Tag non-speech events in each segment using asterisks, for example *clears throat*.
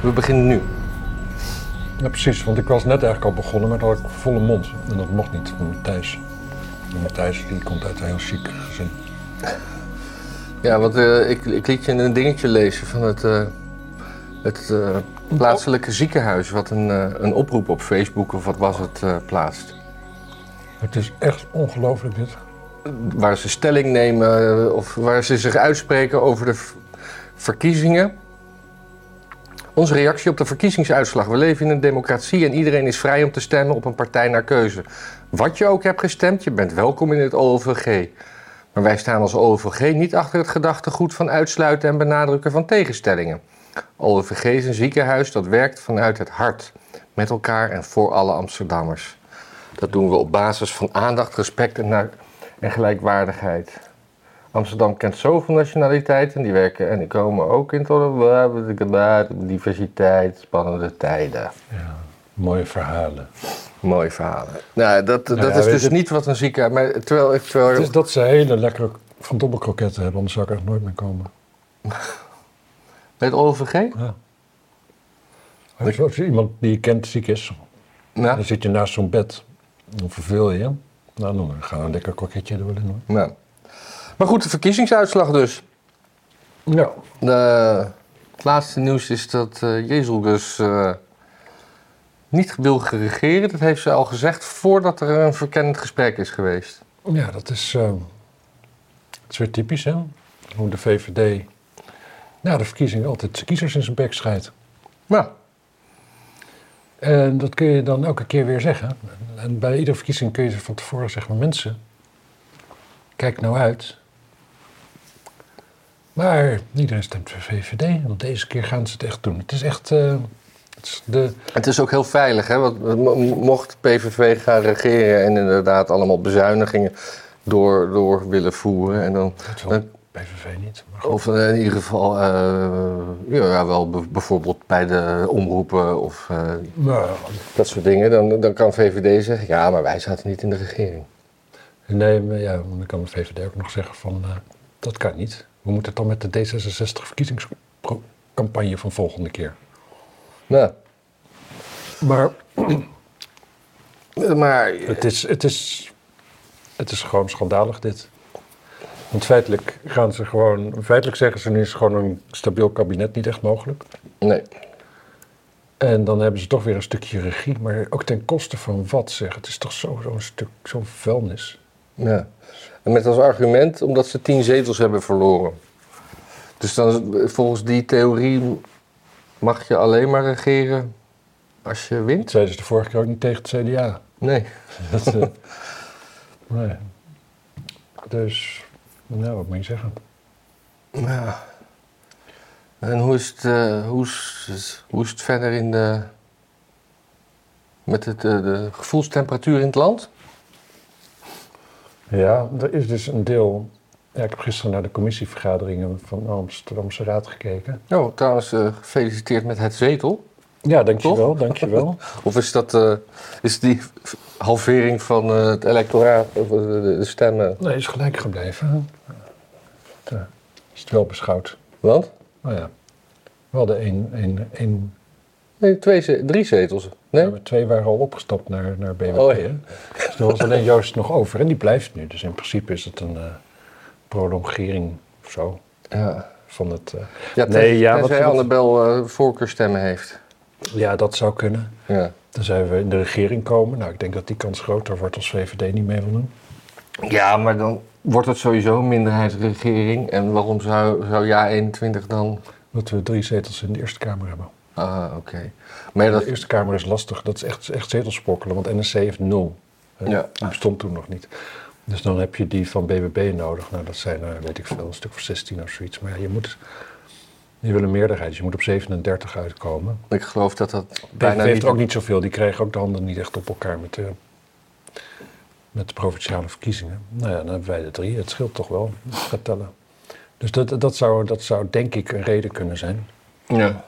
We beginnen nu. Ja, precies. Want ik was net eigenlijk al begonnen, maar dan had ik volle mond. En dat mocht niet van Matthijs. En Matthijs die komt uit een heel chic gezin. Ja, want eh, ik, ik liet je een dingetje lezen van het, eh, het eh, plaatselijke ziekenhuis. Wat een, eh, een oproep op Facebook of wat was het eh, plaatst. Het is echt ongelooflijk dit. Waar ze stelling nemen eh, of waar ze zich uitspreken over de v- verkiezingen. Onze reactie op de verkiezingsuitslag. We leven in een democratie en iedereen is vrij om te stemmen op een partij naar keuze. Wat je ook hebt gestemd, je bent welkom in het OVG. Maar wij staan als OVG niet achter het gedachtegoed van uitsluiten en benadrukken van tegenstellingen. OVG is een ziekenhuis dat werkt vanuit het hart, met elkaar en voor alle Amsterdammers. Dat doen we op basis van aandacht, respect en, na- en gelijkwaardigheid. Amsterdam kent zoveel nationaliteiten, die werken en die komen ook in tot diversiteit, spannende tijden. Mooie verhalen. Mooie verhalen. Nou, dat, dat ja, is weet dus je- niet wat een ziekenhuis. Maar terwijl, ik- terwijl, Het is dat ze hele lekkere van dobbelkroketten hebben, anders zou ik echt nooit meer komen. Met OVG? Ja. Als, als iemand die je kent ziek is, Nou, dan zit je naast zo'n bed. Dan verveel je je. Nou, dan gaan we een lekker kroketje er wel in hoor. nou. Maar goed, de verkiezingsuitslag dus. Ja. De, het laatste nieuws is dat eh Jezel dus eh, niet wil regeren. Dat heeft ze al gezegd voordat er een verkennend gesprek is geweest. Ja, dat is, eh, het is weer typisch, hè? Hoe de VVD na de verkiezingen altijd de kiezers in zijn bek scheidt. Nou, En dat kun je dan elke keer weer zeggen. En bij iedere verkiezing kun je van tevoren zeggen, mensen, kijk nou uit. Maar iedereen stemt voor VVD, want deze keer gaan ze het echt doen. Het is echt eh, het is de, het is ook heel veilig, hè? Want mo- mocht PVV gaan regeren en inderdaad allemaal bezuinigingen door, door willen voeren. En dan, dat wil dan PVV niet. Maar goed. Of in ieder geval, eh, ja, wel be- bijvoorbeeld bij de omroepen of eh, Nou, dat soort dingen. Dan, dan kan VVD zeggen, ja, maar wij zaten niet in de regering. nee, maar ja, dan kan de VVD ook nog zeggen van, eh, dat kan niet. We moeten het dan met de D66-verkiezingscampagne van volgende keer. Nou, Maar eh, maar Het is, het is, het is gewoon schandalig dit. Want feitelijk gaan ze gewoon, feitelijk zeggen ze nu is gewoon een stabiel kabinet niet echt mogelijk. nee, En dan hebben ze toch weer een stukje regie, maar ook ten koste van wat zeg. Het is toch zo- zo'n stuk, zo'n vuilnis. ja. En met als argument, omdat ze tien zetels hebben verloren. Dus dan, is- volgens die theorie mag je alleen maar regeren als je Dat wint? zeiden ze de vorige keer ook niet tegen het CDA. Nee. Dat, eh, *laughs* nee. Dus, nou wat moet je zeggen? Ja. En hoe is het, eh, hoe is het, hoe is het verder in de, met het, eh, de gevoelstemperatuur in het land? Ja, er is dus een deel. Ja, ik heb gisteren naar de commissievergaderingen van de Amsterdamse Raad gekeken. Nou, trouwens, eh, gefeliciteerd met het zetel. Ja, dankjewel, Toch? dankjewel. Of is dat eh, is die halvering van eh, het electoraat, of, eh, de, de stemmen? *laughs* Nee, is gelijk gebleven. Ja, is het wel beschouwd. Want? Nou ja, we hadden één, één, één Nee, twee, ze- drie zetels. we Nee? hebben twee waren al opgestapt naar, naar BBP. Oh, ja. hè? Dus er was alleen Joost nog over en die blijft nu. Dus in principe is het een eh, prolongering of zo Ja. van het... eh, Ja, ten, Nee, ja, tenzij wat- wat- Annabel eh, voorkeurstemmen heeft. ja, dat zou kunnen. Ja. Dan zijn we in de regering komen. Nou, ik denk dat die kans groter wordt als VVD niet mee wil doen. Ja, maar dan wordt het sowieso een minderheidsregering. En waarom zou, zou Ja 21 dan... Omdat we drie zetels in de Eerste Kamer hebben. Ah, oké. Maar ja, De dat... Eerste Kamer is lastig. Dat is echt, echt zetelsprokkelen, want NSC heeft nul. Hè? Ja. Die bestond toen nog niet. Dus dan heb je die van BBB nodig. Nou, dat zijn, eh, weet ik veel, een stuk of 16 of zoiets. Maar ja, je moet... Je wil een meerderheid, dus je moet op 37 uitkomen. Ik geloof dat dat BBB bijna heeft niet... ook niet zoveel. Die kregen ook de handen niet echt op elkaar met de, met de provinciale verkiezingen. Nou ja, dan hebben wij de drie. Het scheelt toch wel. Gaat tellen. Dus dat, dat, zou, dat zou denk ik een reden kunnen zijn. Ja.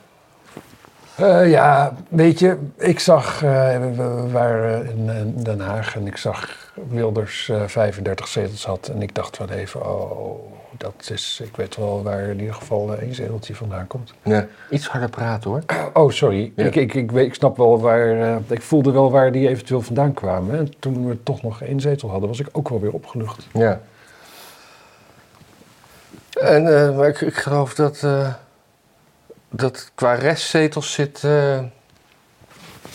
Eh, ja, weet je, ik zag, eh, we- we waren in eh, Den Haag en ik zag Wilders eh, 35 zetels had. En ik dacht wel even, oh, dat is, ik weet wel waar in ieder geval eh, één zeteltje vandaan komt. Ja. Iets harder praten hoor. Oh, sorry. Ja. Ik, ik, ik, weet- ik snap wel waar, eh, ik voelde wel waar die eventueel vandaan kwamen. En toen we toch nog één zetel hadden, was ik ook wel weer opgelucht. Ja. En eh, maar ik, ik geloof dat, eh, dat qua restzetels zit, eh,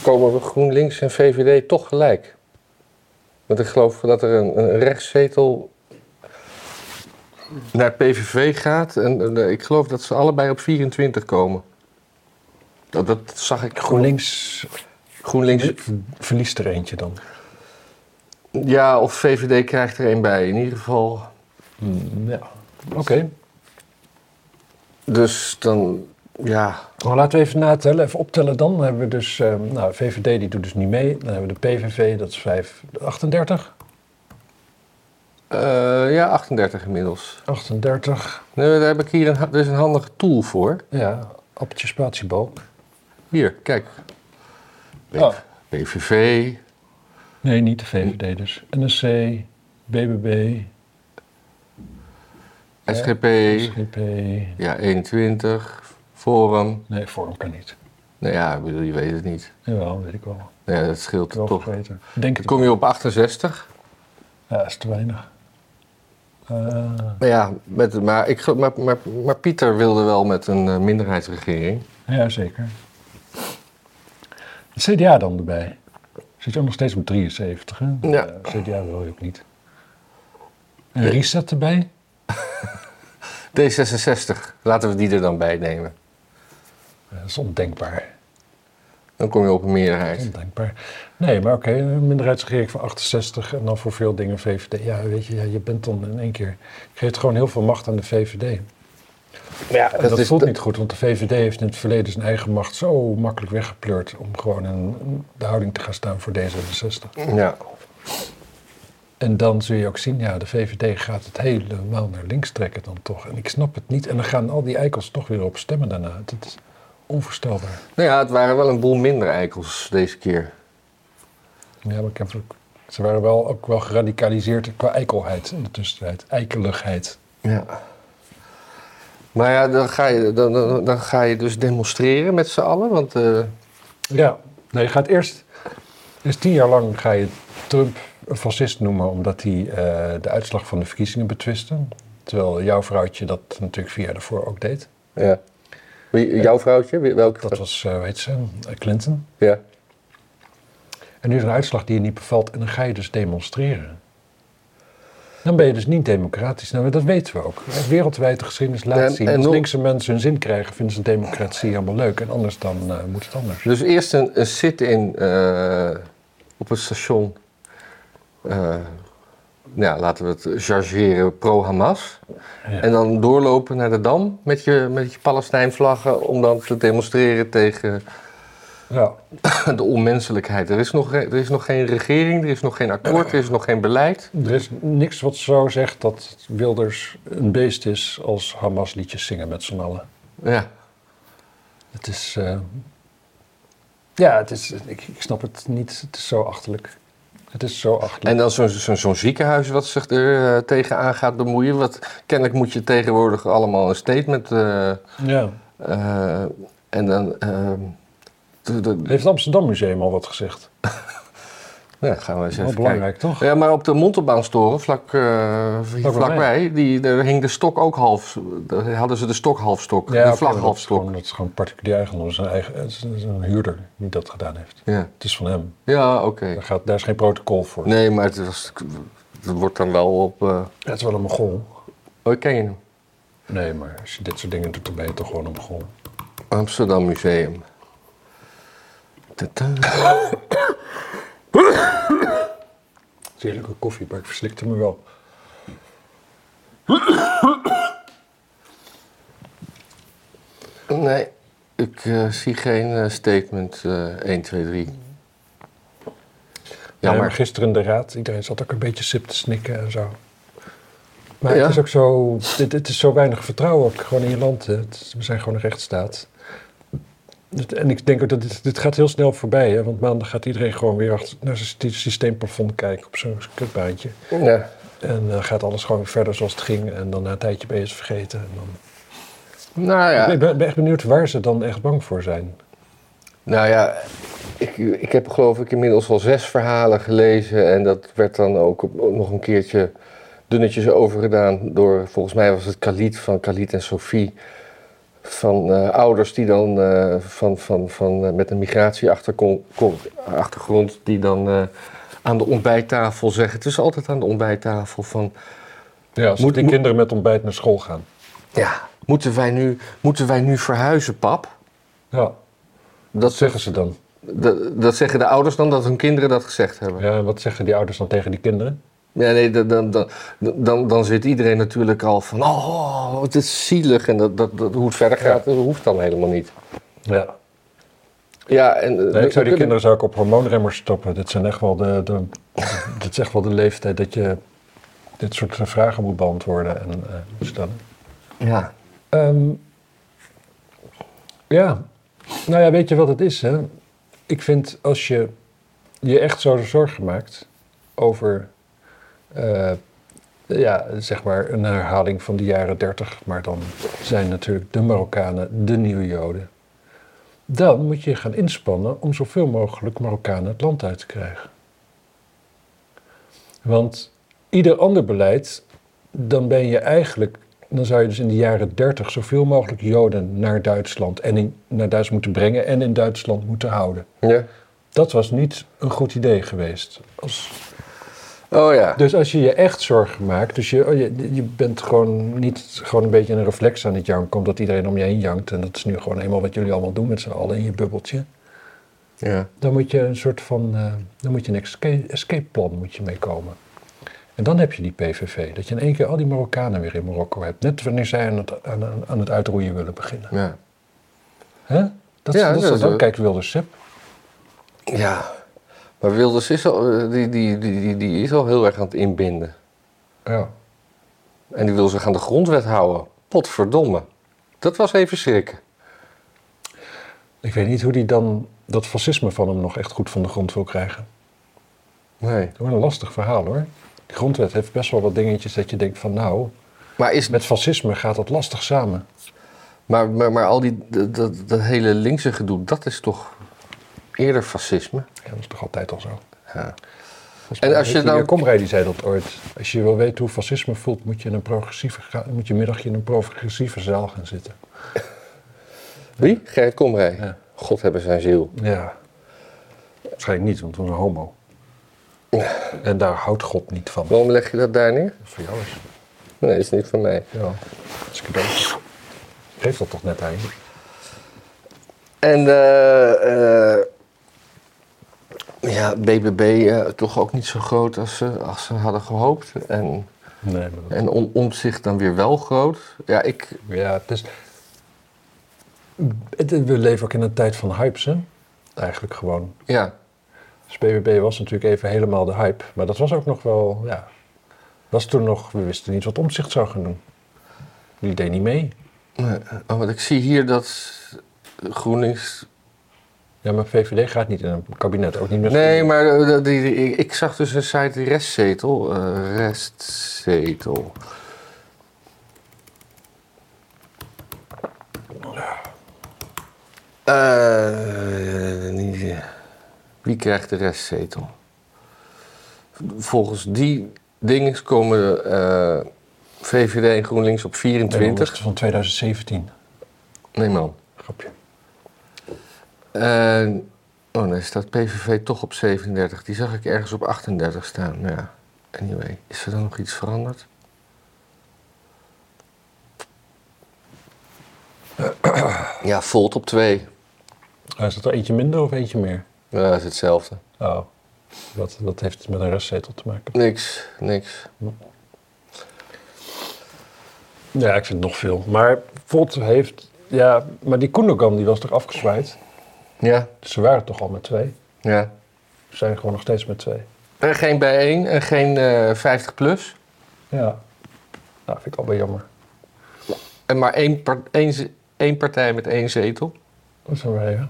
komen we GroenLinks en VVD toch gelijk. Want ik geloof dat er een, een rechtszetel naar PVV gaat. En, eh, ik geloof dat ze allebei op 24 komen. Dat, dat zag ik GroenLinks. GroenLinks GroenLinks. verliest er eentje dan. Ja, of VVD krijgt er één bij. In ieder geval. Hmm, Ja. Oké, Dus dan, ja, Nou, laten we even natellen, even optellen dan. Dan hebben we dus, eh, nou, VVD die doet dus niet mee. Dan hebben we de PVV, dat is 5, 38. Eh, ja, 38 inmiddels. 38, Nee, daar heb ik hier een, ha- er is een handige tool voor. ja, appeltje spatiebal. Hier, kijk. P- Oh. PVV, Nee, niet de VVD dus. NSC, BBB, Ja. SGP, SGP. ja, 21, Forum. Nee, Forum kan niet. Nou ja, ik bedoel, je weet het niet. Jawel, weet ik wel. Ik Nou ja, dat scheelt heb wel toch. geweten. Ik Denk Dan het kom je op 68. wel. Ja, is te weinig. Eh, Maar Nou ja, met, maar, ik, gel- maar, maar, maar Pieter wilde wel met een eh, minderheidsregering. ja, zeker. Het CDA dan erbij. Zit je ook nog steeds op 73, hè? Ja. Eh, CDA wil je ook niet. En Reset erbij? D66, laten we die er dan bij nemen. Dat is ondenkbaar. Dan kom je op een Dat is meerderheid. Ondenkbaar. Nee, maar oké, een minderheidsregering van 68 en dan voor veel dingen VVD. Ja, weet je, ja, je bent dan in één keer. Je geeft gewoon heel veel macht aan de VVD. Ja, En dat, voelt niet goed, want de VVD heeft in het verleden zijn eigen macht zo makkelijk weggepleurd om gewoon in de houding te gaan staan voor D66. Ja, En dan zul je ook zien, ja, de VVD gaat het helemaal naar links trekken dan toch. En ik snap het niet. En dan gaan al die eikels toch weer op stemmen daarna. Dat is onvoorstelbaar. Nou ja, het waren wel een boel minder eikels deze keer. Ja, maar ik heb ook- ze waren wel ook wel geradicaliseerd qua eikelheid in de tussentijd. Eikeligheid. Ja. Maar ja, dan ga je, dan, dan, dan ga je dus demonstreren met z'n allen. Want eh, Ja, nou, je gaat eerst... Dus tien jaar lang ga je Trump een fascist noemen... omdat hij eh, de uitslag van de verkiezingen betwistte. Terwijl jouw vrouwtje dat natuurlijk vier jaar daarvoor ook deed. ja. Wie- jouw vrouwtje, wie- welke? Dat was, eh weet ze, eh, Clinton. Ja. En nu is er een uitslag die je niet bevalt en dan ga je dus demonstreren. Dan ben je dus niet democratisch. Nou, dat weten we ook. Wereldwijd de geschiedenis laat En- zien. en Als nog- linkse mensen hun zin krijgen, vinden ze democratie helemaal leuk. En anders dan eh, moet het anders. Dus eerst een, een sit-in eh, op het station. Eh, nou, laten we het chargeren pro-Hamas. Ja. En dan doorlopen naar de Dam met je, met je Palestijnvlaggen... om dan te demonstreren tegen Ja, de onmenselijkheid. Er is, nog, re- er is nog geen regering, er is nog geen akkoord, er is nog geen beleid. er is niks wat zo zegt dat Wilders een beest is als Hamas liedjes zingen met z'n allen. Ja. Het is... eh, ja, het is, ik, ik snap het niet. Het is zo achterlijk. Het is zo achterlijk. En dan zo'n zo'n zo'n ziekenhuis wat zich er eh, tegenaan gaat bemoeien. Wat, kennelijk moet je tegenwoordig allemaal een statement. eh, Ja. eh, en dan. ehm, de- de- Heeft het Amsterdam Museum al wat gezegd? ja, gaan we eens Wel even belangrijk, toch? kijken. Ja, maar op de Montelbaanstoren, vlak, eh, hier Vlakbij. vlakbij, die, daar hing de stok ook half. Daar hadden ze de stok halfstok, oké, de maar vlag dat is halfstok. gewoon- Dat is gewoon particulier eigendom. Dat is een, eigen, het is een- het is een huurder die dat gedaan heeft. Ja, Het is van hem. ja oké. Daar, gaat, daar is geen protocol voor. Nee, maar het, was, het wordt dan wel op. eh Het is wel een mogol. oh, ken je hem? Nee, maar als je dit soort dingen doet, dan ben je toch gewoon een mogol. Amsterdam Museum. Tada. Het is heerlijke koffie, maar ik verslikte me wel. Nee, ik eh, zie geen eh, statement eh 1, 2, 3. Ja, maar Jammer. gisteren in de raad, iedereen zat ook een beetje sip te snikken en zo. Maar Ja. het is ook zo, dit, dit is zo weinig vertrouwen ook gewoon in je land. hè. Het is- we zijn gewoon een rechtsstaat. Het- En ik denk ook dat dit, dit gaat heel snel voorbij. Hè? Want maandag gaat iedereen gewoon weer achter, naar zijn sy- systeemplafond kijken op zo'n kutbaantje. Ja. En eh, gaat alles gewoon verder zoals het ging. En dan na een tijdje ben je het vergeten. En dan... Nou ja. Ik ben, ben echt benieuwd waar ze dan echt bang voor zijn. Nou ja, ik, ik heb geloof ik inmiddels al zes verhalen gelezen. En dat werd dan ook op- nog een keertje dunnetjes overgedaan door, volgens mij was het Khalid van Khalid en Sophie. Van eh, ouders die dan eh, van, van, van, eh, met een migratieachtergrond, die dan eh, aan de ontbijttafel zeggen. Het is altijd aan de ontbijttafel van. Ja, als Moet- die moet- kinderen met ontbijt naar school gaan. Ja, moeten wij nu, moeten wij nu verhuizen, pap? Ja, Dat, wat zeggen ze dan? dat, dat zeggen de ouders dan dat hun kinderen dat gezegd hebben. Ja, en wat zeggen die ouders dan tegen die kinderen? Ja, nee, dan, dan, dan, dan, dan zit iedereen natuurlijk al van, oh, het is zielig. En dat, dat, dat, hoe het verder gaat, dat hoeft dan helemaal niet. Ja. Ja, en, eh, Nee, ik zou die we- we- kinderen zou ik op hormoonremmers stoppen. Dit, zijn echt wel de, de, dit is echt wel de leeftijd dat je dit soort vragen moet beantwoorden en eh, moet stellen. Ja, Ehm, ja, nou ja, weet je wat het is? Hè? Ik vind als je je echt zo zorgen maakt over, eh, ja, zeg maar een herhaling van de jaren 30, maar dan zijn natuurlijk de Marokkanen de nieuwe Joden. Dan moet je je gaan inspannen om zoveel mogelijk Marokkanen het land uit te krijgen. Want ieder ander beleid, dan ben je eigenlijk dan zou je dus in de jaren 30 zoveel mogelijk Joden naar Duitsland en in, naar Duitsland moeten brengen en in Duitsland moeten houden. ja. Dat was niet een goed idee geweest. Als, Oh ja. dus als je je echt zorgen maakt, dus je, oh, je, je bent gewoon niet gewoon een beetje een reflex aan het janken, omdat iedereen om je heen jankt en dat is nu gewoon eenmaal wat jullie allemaal doen met z'n allen in je bubbeltje. ja. Dan moet je een soort van, eh, dan moet je een escape, escape plan moet je mee komen. En dan heb je die PVV, dat je in één keer al die Marokkanen weer in Marokko hebt, net wanneer zij aan het, aan, aan- aan het uitroeien willen beginnen. Ja. Hè? Dat, Ja, dat, ja, dat, dat- ook. Kijk, Wilders Sip. ja. Maar Wilders is al, eh, die, die, die, die, die is al heel erg aan het inbinden. Ja. En die wil zich aan de grondwet houden. Potverdomme. Dat was even schrikken. Ik weet niet hoe die dan dat fascisme van hem nog echt goed van de grond wil krijgen. Nee. Dat wordt een lastig verhaal hoor. De grondwet heeft best wel wat dingetjes dat je denkt van nou, Maar, is, met fascisme gaat dat lastig samen. maar, maar, maar al die, dat, dat, dat hele linkse gedoe, dat is toch eerder fascisme? Ja, dat is toch altijd al zo. Ja. Volgens En mij als je weet die, nou- eh, Komrij die zei dat ooit. Als je wil weten hoe fascisme voelt, moet je, in een progressieve ga- moet je middagje in een progressieve zaal gaan zitten. Wie? Gerrit Komrij. Ja. God hebben zijn ziel. Ja. Waarschijnlijk niet, want we zijn een homo. En daar houdt God niet van. Waarom leg je dat daar neer? Voor jou is Nee, is niet van mij. Ja, dat is cadeau. Geef dat toch net aan je? En eh, eh, ja, BBB eh, toch ook niet zo groot als ze, als ze hadden gehoopt. En, Nee, maar dat... en om, zich dan weer wel groot. Ja, ik, Ja, het is... Het- We leven ook in een tijd van hypes, hè? Eigenlijk gewoon. ja, Dus BBB was natuurlijk even helemaal de hype. Maar dat was ook nog wel, ja... Was toen nog... We wisten niet wat Omtzigt zou gaan doen. Die deed niet mee. oh, want ik zie hier dat GroenLinks... Ja, maar VVD gaat niet in een kabinet. Ook niet met... Nee, maar eh, dat- die, die- ik, ik zag dus een site restzetel. eh, restzetel. Eh, niet- wie krijgt de restzetel? Volgens die dingen komen eh, VVD en GroenLinks op Nee, dat was 24. van 2017. Nee man. Grapje. Eh, oh nee, staat PVV toch op 37. Die zag ik ergens op 38 staan. Nou ja, anyway. Is er dan nog iets veranderd? Ja, Volt op 2. Ah, Is dat er eentje minder of eentje meer? Ja, dat is hetzelfde. Oh. Wat, wat heeft het met een restzetel te maken? Niks, niks. Ja, ik vind het nog veel. Maar Volt heeft... Ja, maar die Koendogan die was toch afgezwaaid? Ja, Dus ze waren toch al met twee? ja. Ze zijn gewoon nog steeds met twee. En geen bijeen en geen eh, 50 plus. Ja. Nou, vind ik al wel jammer. En maar één, par- één, z- één partij met één zetel. Dat is wel waar, ja.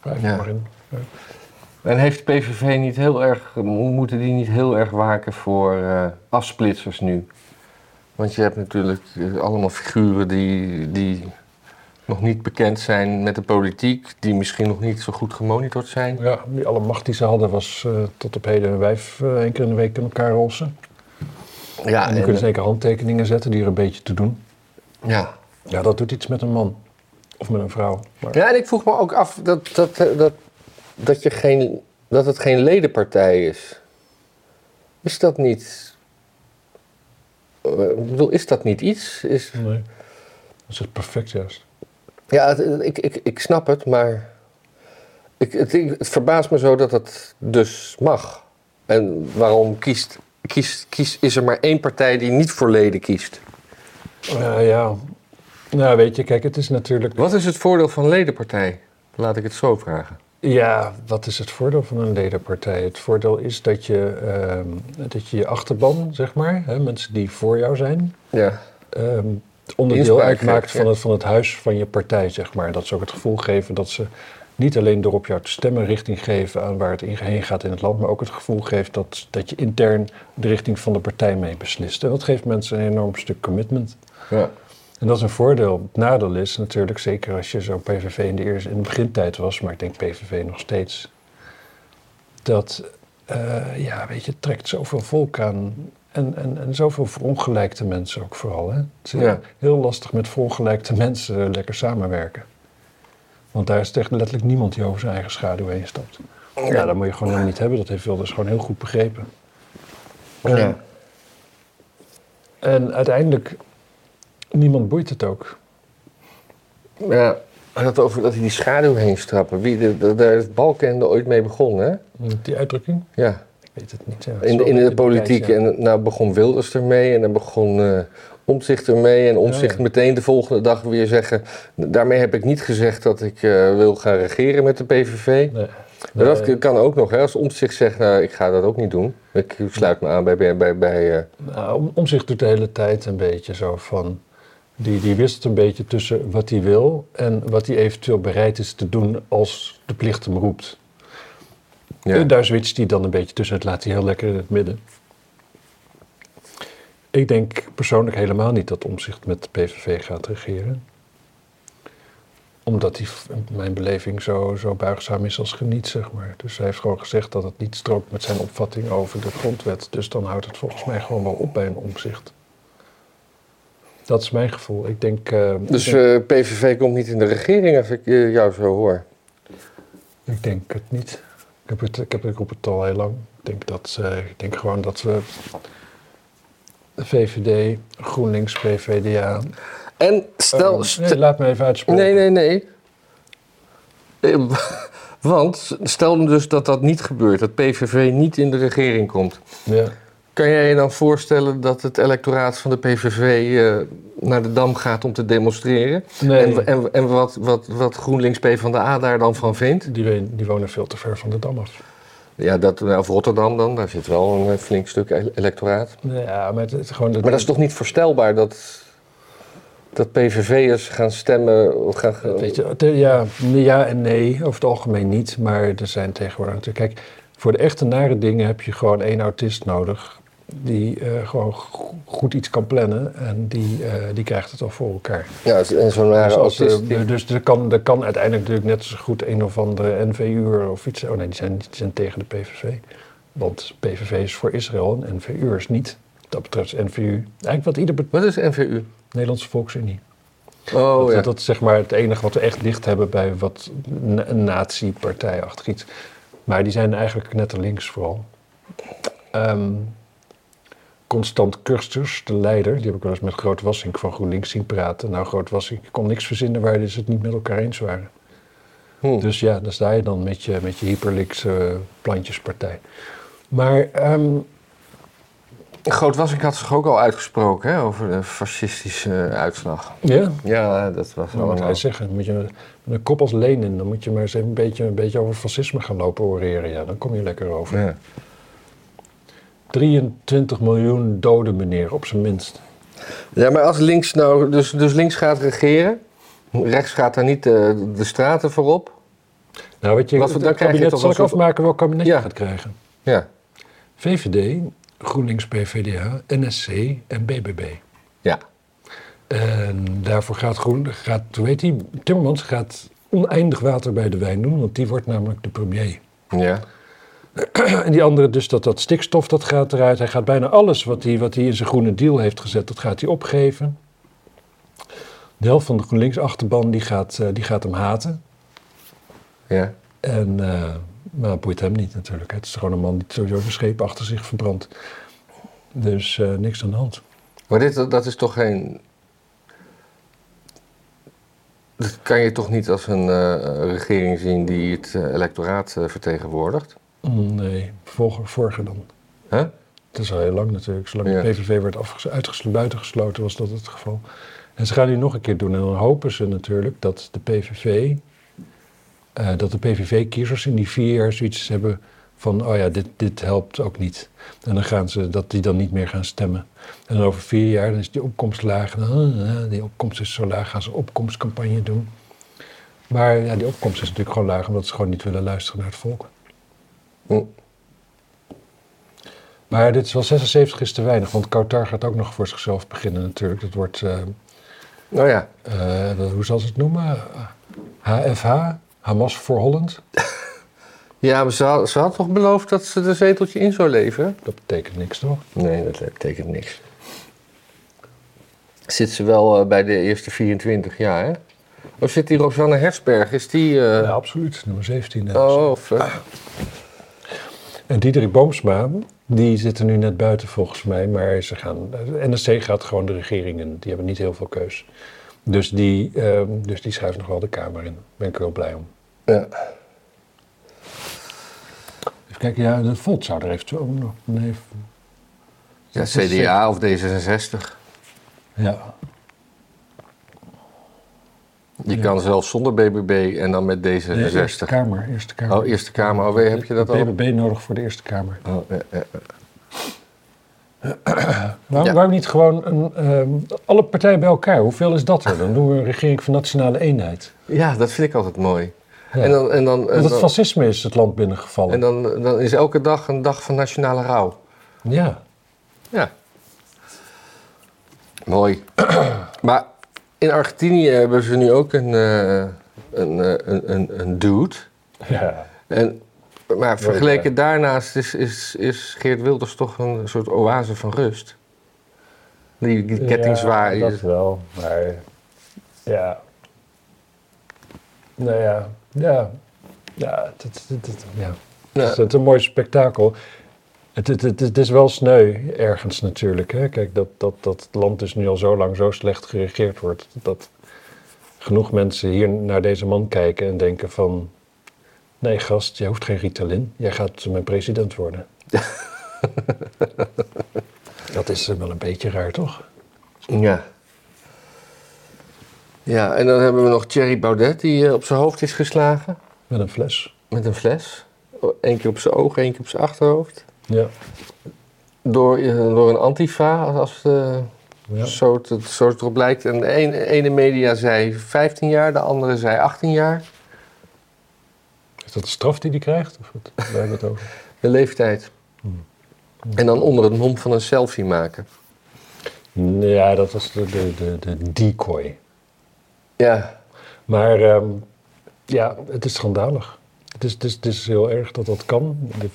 Vijf Ja. jaar in. En heeft PVV niet heel erg, mo- moeten die niet heel erg waken voor eh, afsplitsers nu? Want je hebt natuurlijk eh, allemaal figuren die, die nog niet bekend zijn met de politiek, die misschien nog niet zo goed gemonitord zijn. Ja, die alle macht die ze hadden was eh, tot op heden een wijf eh, één keer in de week in elkaar rolsen. Ah, Ja, en die en- kunnen zeker handtekeningen zetten die er een beetje toe doen. ja. Ja, dat doet iets met een man. Of met een vrouw. Maar, ja, en ik vroeg me ook af dat, dat, eh, dat, dat, je geen, dat het geen ledenpartij is. Is dat niet. eh, Ik bedoel, is dat niet iets? Is, nee. Dat is het perfect juist. Ja, het- ik, ik, ik snap het, maar ik, het, ik- het verbaast me zo dat het dus mag. En waarom kiest, kiest, kiest, is er maar één partij die niet voor leden kiest? Ja, Eh, ja. Nou, weet je, kijk, het is natuurlijk... Wat is het voordeel van ledenpartij? Laat ik het zo vragen. Ja, wat is het voordeel van een ledenpartij? Het voordeel is dat je ehm, dat je, je achterban, zeg maar, hè, mensen die voor jou zijn, Ja, ehm, het onderdeel Inspraak uitmaakt geeft, ja. van het, van het huis van je partij, zeg maar. Dat ze ook het gevoel geven dat ze niet alleen door op jou te stemmen richting geven aan waar het in- heen gaat in het land, maar ook het gevoel geeft dat, dat je intern de richting van de partij mee beslist. En dat geeft mensen een enorm stuk commitment. ja. En dat is een voordeel. Het nadeel is natuurlijk, zeker als je zo'n PVV in de, eerste, in de begintijd was, maar ik denk PVV nog steeds, dat, eh, ja, weet je, het trekt zoveel volk aan. En, en, en zoveel verongelijkte mensen ook vooral. Hè? Het is Ja. heel lastig met verongelijkte mensen lekker samenwerken. Want daar is het echt letterlijk niemand die over zijn eigen schaduw heen stapt. Ja, dat moet je gewoon helemaal niet hebben. Dat heeft Wilders gewoon heel goed begrepen. Ja. En uiteindelijk, niemand boeit het ook. ja. Maar Dat over dat hij die schaduw heen strappen. Wie, de, de- daar is Balkenende ooit mee begonnen, hè? Die uitdrukking? Ja. weet het niet. ja. In, Zo de- in weet de je politiek. tijd, ja. En nou begon Wilders ermee en dan begon eh Omzicht ermee. En Omzicht Oh, Ja, ja. meteen de volgende dag weer zeggen. Daarmee heb ik niet gezegd dat ik eh, wil gaan regeren met de PVV. Nee. Maar Nee, dat kan ook nog. Hè? Als Omzicht zegt, nou ik ga dat ook niet doen. Ik sluit me aan bij. bij, bij, bij eh, nou, om, om zich doet de hele tijd een beetje zo van. Die, die wisselt een beetje tussen wat hij wil en wat hij eventueel bereid is te doen als de plicht hem roept. ja. En Eh, daar switcht hij dan een beetje tussen. Het laat hij heel lekker in het midden. Ik denk persoonlijk helemaal niet dat Omzicht met de PVV gaat regeren. Omdat hij, v- in mijn beleving, zo, zo buigzaam is als geniet, zeg maar. Dus hij heeft gewoon gezegd dat het niet strookt met zijn opvatting over de grondwet. Dus dan houdt het volgens mij gewoon wel op bij een Omzicht. Dat is mijn gevoel. Ik denk. eh, ik Dus denk- eh, PVV komt niet in de regering als ik eh, jou zo hoor. Ik denk het niet. Ik, heb het, ik, heb, ik roep het al heel lang. Ik denk, dat, eh, ik denk gewoon dat we VVD, GroenLinks, PVDA... En stel... Eh, stel- nee, laat me even uitspreken. Nee, nee, nee. Eh, *laughs* Want stel dus dat dat niet gebeurt, dat PVV niet in de regering komt. Ja. Kan jij je dan voorstellen dat het electoraat van de PVV eh, naar de Dam gaat om te demonstreren? nee En, en, en wat, wat, wat GroenLinks PvdA daar dan van vindt? die, we- die wonen veel te ver van de Dam af. Ja, dat, nou, of Rotterdam dan, daar zit wel een eh, flink stuk ele- electoraat. Ja, maar het, het, gewoon Maar dat is toch niet voorstelbaar dat, dat PVV'ers gaan stemmen? of Gaan, Weet je, de- ja, ja en nee, over het algemeen niet. Maar er zijn tegenwoordig natuurlijk... Kijk, voor de echte nare dingen heb je gewoon één autist nodig... die eh, gewoon go- goed iets kan plannen en die, eh, die krijgt het al voor elkaar. ja, en zo'n nare Dus, als, autist eh, die- dus er, kan, er kan uiteindelijk natuurlijk net zo goed een of andere NVU'er of iets. Oh nee, die zijn, die zijn tegen de PVV. Want PVV is voor Israël en NVU'er is niet. Wat Dat betreft is NVU. Eigenlijk wat ieder be- Wat is NVU? Nederlandse Volksunie. Oh dat, ja. dat is zeg maar het enige wat we echt dicht hebben bij wat na- een nazi-partij achter iets. Maar die zijn eigenlijk net de links vooral. Ehm, Constant Kursters, de leider, die heb ik wel eens met Groot Wassink van GroenLinks zien praten. Nou, Groot Wassink kon niks verzinnen waar ze het niet met elkaar eens waren. Hm. Dus ja, daar sta je dan met je, met je hyperlinkse eh, plantjespartij. Maar ehm, Groot was, ik had zich ook al uitgesproken hè, over de fascistische eh, uitslag. ja, Ja, dat was wat moet allemaal. hij zeggen? Moet je met een kop als Lenin, dan moet je maar eens even een beetje, een beetje over fascisme gaan lopen oreren. Ja, dan kom je lekker over. Ja. 23 miljoen doden, meneer, op zijn minst. ja, maar als links nou, dus, dus links gaat regeren, Rechts gaat daar niet eh, de straten voorop. Nou, weet je, Wat we- het dan krijg je kabinet toch zal een ik soort- afmaken welk kabinet Ja. je gaat krijgen. Ja. VVD, GroenLinks, PVDA, NSC en BBB. Ja. En daarvoor gaat, Groen, gaat hoe heet die, Timmermans gaat oneindig water bij de wijn doen, want die wordt namelijk de premier. Ja. En die andere dus, dat, dat stikstof, dat gaat eruit. Hij gaat bijna alles wat hij, wat hij in zijn groene deal heeft gezet, dat gaat hij opgeven. De helft van de GroenLinks-achterban, die gaat, eh, die gaat hem haten. Ja. En, eh maar het boeit hem niet natuurlijk. hè. Het is gewoon een man die sowieso zijn scheep achter zich verbrandt. Dus eh, niks aan de hand. Maar dit, dat is toch geen. Dat kan je toch niet als een eh, regering zien die het eh, electoraat eh, vertegenwoordigt? Mm, Nee, vorige, vorige dan. Huh? Het is al heel lang natuurlijk. Zolang Ja. de PVV werd afges- uitgeslo- buitengesloten was dat het geval. En ze gaan nu nog een keer doen. En dan hopen ze natuurlijk dat de PVV... eh, dat de PVV-kiezers in die vier jaar zoiets hebben van... oh ja, dit, dit helpt ook niet. En dan gaan ze, dat die dan niet meer gaan stemmen. En dan over vier jaar dan is die opkomst laag. En dan, eh, eh, die opkomst is zo laag, gaan ze een opkomstcampagne doen. Maar ja, die opkomst is natuurlijk gewoon laag... omdat ze gewoon niet willen luisteren naar het volk. Hm. Maar dit is wel 76 is te weinig, want Qatar gaat ook nog voor zichzelf beginnen natuurlijk. Dat wordt, eh, Nou ja, eh, dat- hoe zal ze het noemen? HFH, Hamas voor Holland. ja maar ze, had, ze had toch beloofd dat ze de zeteltje in zou leveren? Dat betekent niks toch? Nee, dat betekent niks. Zit ze wel eh, bij de eerste 24 jaar, hè? Of zit die Rosanne Hersberg? Is die... eh, Ja, absoluut, nummer 17. eh. oh, fuck. En Diederik Boomsma, die zitten nu net buiten volgens mij, maar ze gaan, eh, de NSC gaat gewoon de regering in. Die hebben niet heel veel keus. Dus die, eh, dus die schuift nog wel de Kamer in. Ben ik er wel blij om. Ja. Even kijken, ja, de Volt zou er eventueel nog... Nee, ja, CDA of D66. ja, Je kan zelfs zonder BBB en dan met de Eerste D66. Kamer, Eerste Kamer. Oh, Eerste Kamer. Oh, heb je dat al? BBB nodig voor de Eerste Kamer. Oh, ja, ja. Waarom, Ja. waarom niet gewoon een, ehm, alle partijen bij elkaar? Hoeveel is dat er? Dan doen we een regering van nationale eenheid. Ja, dat vind ik altijd mooi. Ja. En, dan, en, dan, en, Want het dan, fascisme is het land binnengevallen. en dan, dan is elke dag een dag van nationale rouw. Ja. Ja. Mooi. *clears throat* maar in Argentinië hebben ze nu ook een, eh, een, eh, een, een, een dude. ja. En, maar vergeleken daarnaast is, is, is Geert Wilders toch een soort oase van rust. Die, die kettingzwaai. Ja, dat wel, maar ja. Nou ja, ja. Ja, dat, dat, Dus dat- ja. Ja. Het, is, het is een mooi spektakel. Het, het, het, het is wel sneu ergens natuurlijk. Hè? Kijk, dat, dat, dat het land dus nu al zo lang zo slecht geregeerd wordt. Dat genoeg mensen hier naar deze man kijken en denken van... Nee gast, jij hoeft geen Ritalin. Jij gaat mijn president *laughs* worden. dat is eh, wel een beetje raar, toch? Ja. Ja, en dan hebben we nog Thierry Baudet die eh, op zijn hoofd is geslagen. Met een fles. Met een fles. Eén keer op zijn ogen, één keer op zijn achterhoofd. Ja. Door, eh, door een antifa, als- als de, ja. zo, het, het- zo het erop lijkt. En de een- de ene media zei 15 jaar, de andere zei 18 jaar. Is dat de straf die hij krijgt? Of wat? Waar hebben we het over? De leeftijd. Hmm. En dan onder het mom van een selfie maken. Ja, dat was de, de, de, de decoy. Ja, Maar ehm, ja, het is schandalig. Het is, het, is, het is heel erg dat dat kan. De-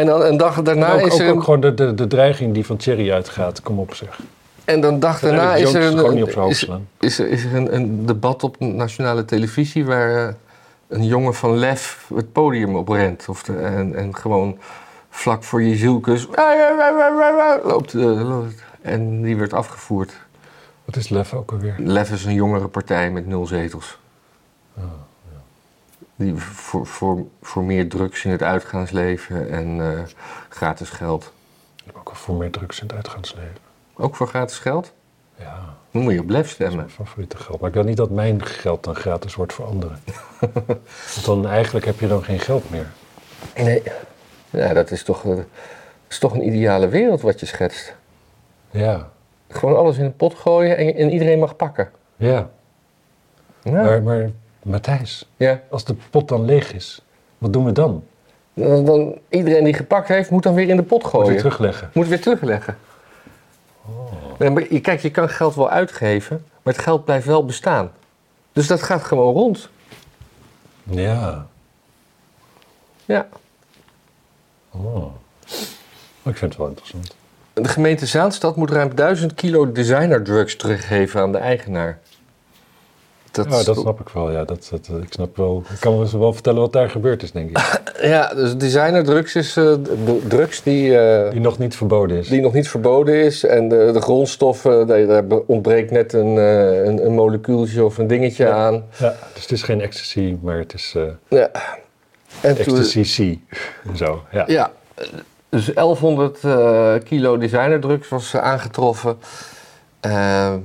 en dan een dag daarna ook, is ook, er een, ook gewoon de, de, de dreiging die van Thierry uitgaat. Kom op zeg. en dan dag daarna Eigenlijk is er Jones gewoon niet op een, zijn hoofd is, slaan. is er, is er een, een debat op nationale televisie waar eh, een jongen van Lef het podium op rent. Of de- en, en gewoon vlak voor je zielkus "Wa, wa, wa, wa, wa, wa," loopt, eh, loopt. En die werd afgevoerd. Wat is lef ook alweer? Lef is een jongere partij met nul zetels. Die voor, voor, voor meer drugs in het uitgaansleven en eh, gratis geld. Ook al voor meer drugs in het uitgaansleven. Ook voor gratis geld? Ja, Dan moet je op lef stemmen. mijn favoriete geld. Maar ik wil niet dat mijn geld dan gratis wordt voor *laughs* anderen. Want dan eigenlijk heb je dan geen geld meer. Nee. Ja, dat is toch, eh, dat is toch een ideale wereld wat je schetst. Ja, Gewoon alles in een pot gooien en, en iedereen mag pakken. ja. Ja. Maar, maar Matthijs, ja. als de pot dan leeg is, wat doen we dan? Dan, dan- iedereen die gepakt heeft, moet dan weer in de pot Moet je gooien. terugleggen. Moet weer terugleggen. Nee, maar je- kijk, je kan geld wel uitgeven, maar het geld blijft wel bestaan. Dus dat gaat gewoon rond. Ja. Ja. Oh. Ik vind het wel interessant. De gemeente Zaanstad moet ruim 1000 kilo designerdrugs teruggeven aan de eigenaar. Dat, ja, dat snap ik wel. Ja, dat, dat, eh, ik snap wel. Ik kan ze wel vertellen wat daar gebeurd is, *laughs* denk ik. ja, dus designerdrugs is eh, d- drugs die, eh, Die nog niet verboden is. die nog niet verboden is. En de, de grondstoffen, daar- daar ontbreekt net een, eh, een, een molecuultje of een dingetje aan. Ja, dus het is geen ecstasy, maar het is eh Ja. En toen- ecstasy C. En zo, ja. Ja, dus 1100 eh, kilo designerdrugs was eh, aangetroffen. Ehm,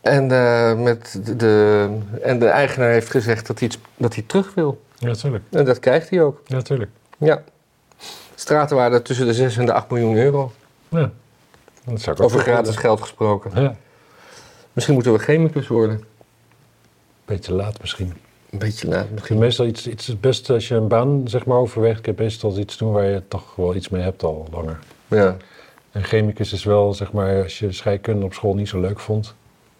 en, eh, met de- de, en de eigenaar heeft gezegd dat hij, iets, dat hij terug wil. Ja, natuurlijk. En dat krijgt hij ook. Ja, natuurlijk. Ja. Stratenwaarde tussen de 6 en de 8 miljoen euro. Ja. Dat zou ik ook Over wel gratis geld gesproken. willen. Ja. Misschien moeten we chemicus worden. Beetje laat misschien. Een beetje laat Ik vind misschien. meestal iets, iets het beste als je een baan zeg maar, overweegt. Kun je meestal iets doen waar je toch wel iets mee hebt al langer. Ja. En chemicus is wel, zeg maar, als je scheikunde op school niet zo leuk vond.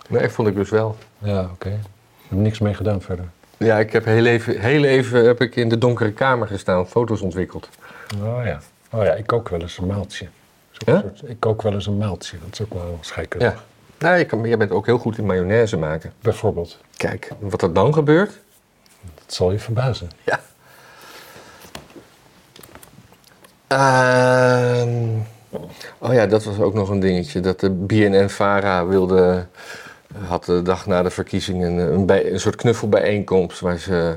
Nee, ik vond ik dus wel. Ja, oké. Ik heb niks mee gedaan verder. Ja, ik heb heel even, heel even heb ik in de donkere kamer gestaan, foto's ontwikkeld. Oh ja. Oh ja, ik kook wel eens een maaltje. Dat is ook Ja? een soort- ik kook wel eens een maaltje. Dat is ook wel scheikundig. Ja. Nou, je, kan, je bent ook heel goed in mayonaise maken. Bijvoorbeeld. Kijk, wat er dan gebeurt. Dat zal je verbazen. Ja. Ehm, oh ja, dat was ook nog een dingetje. Dat de BNN-Vara wilde... had de dag na de verkiezingen een, een, bij- een soort knuffelbijeenkomst... waar ze,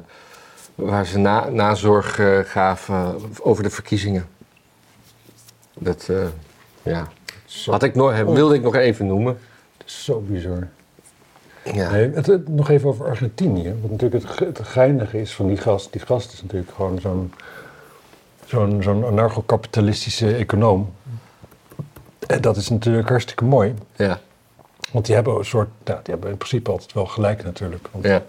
waar ze na, nazorg eh, gaven over de verkiezingen. Dat, eh, ja... Zo, Had ik nog, wilde ik nog even noemen. het is zo bizar. Ja. Nee, het, het- nog even over Argentinië. Wat natuurlijk het, ge- het geinige is van die gast. Die gast is natuurlijk gewoon zo'n zo'n zo'n anarcho-kapitalistische econoom. En dat is natuurlijk hartstikke mooi. Ja. Want die hebben een soort, nou, die hebben in principe altijd wel gelijk natuurlijk. Want ja.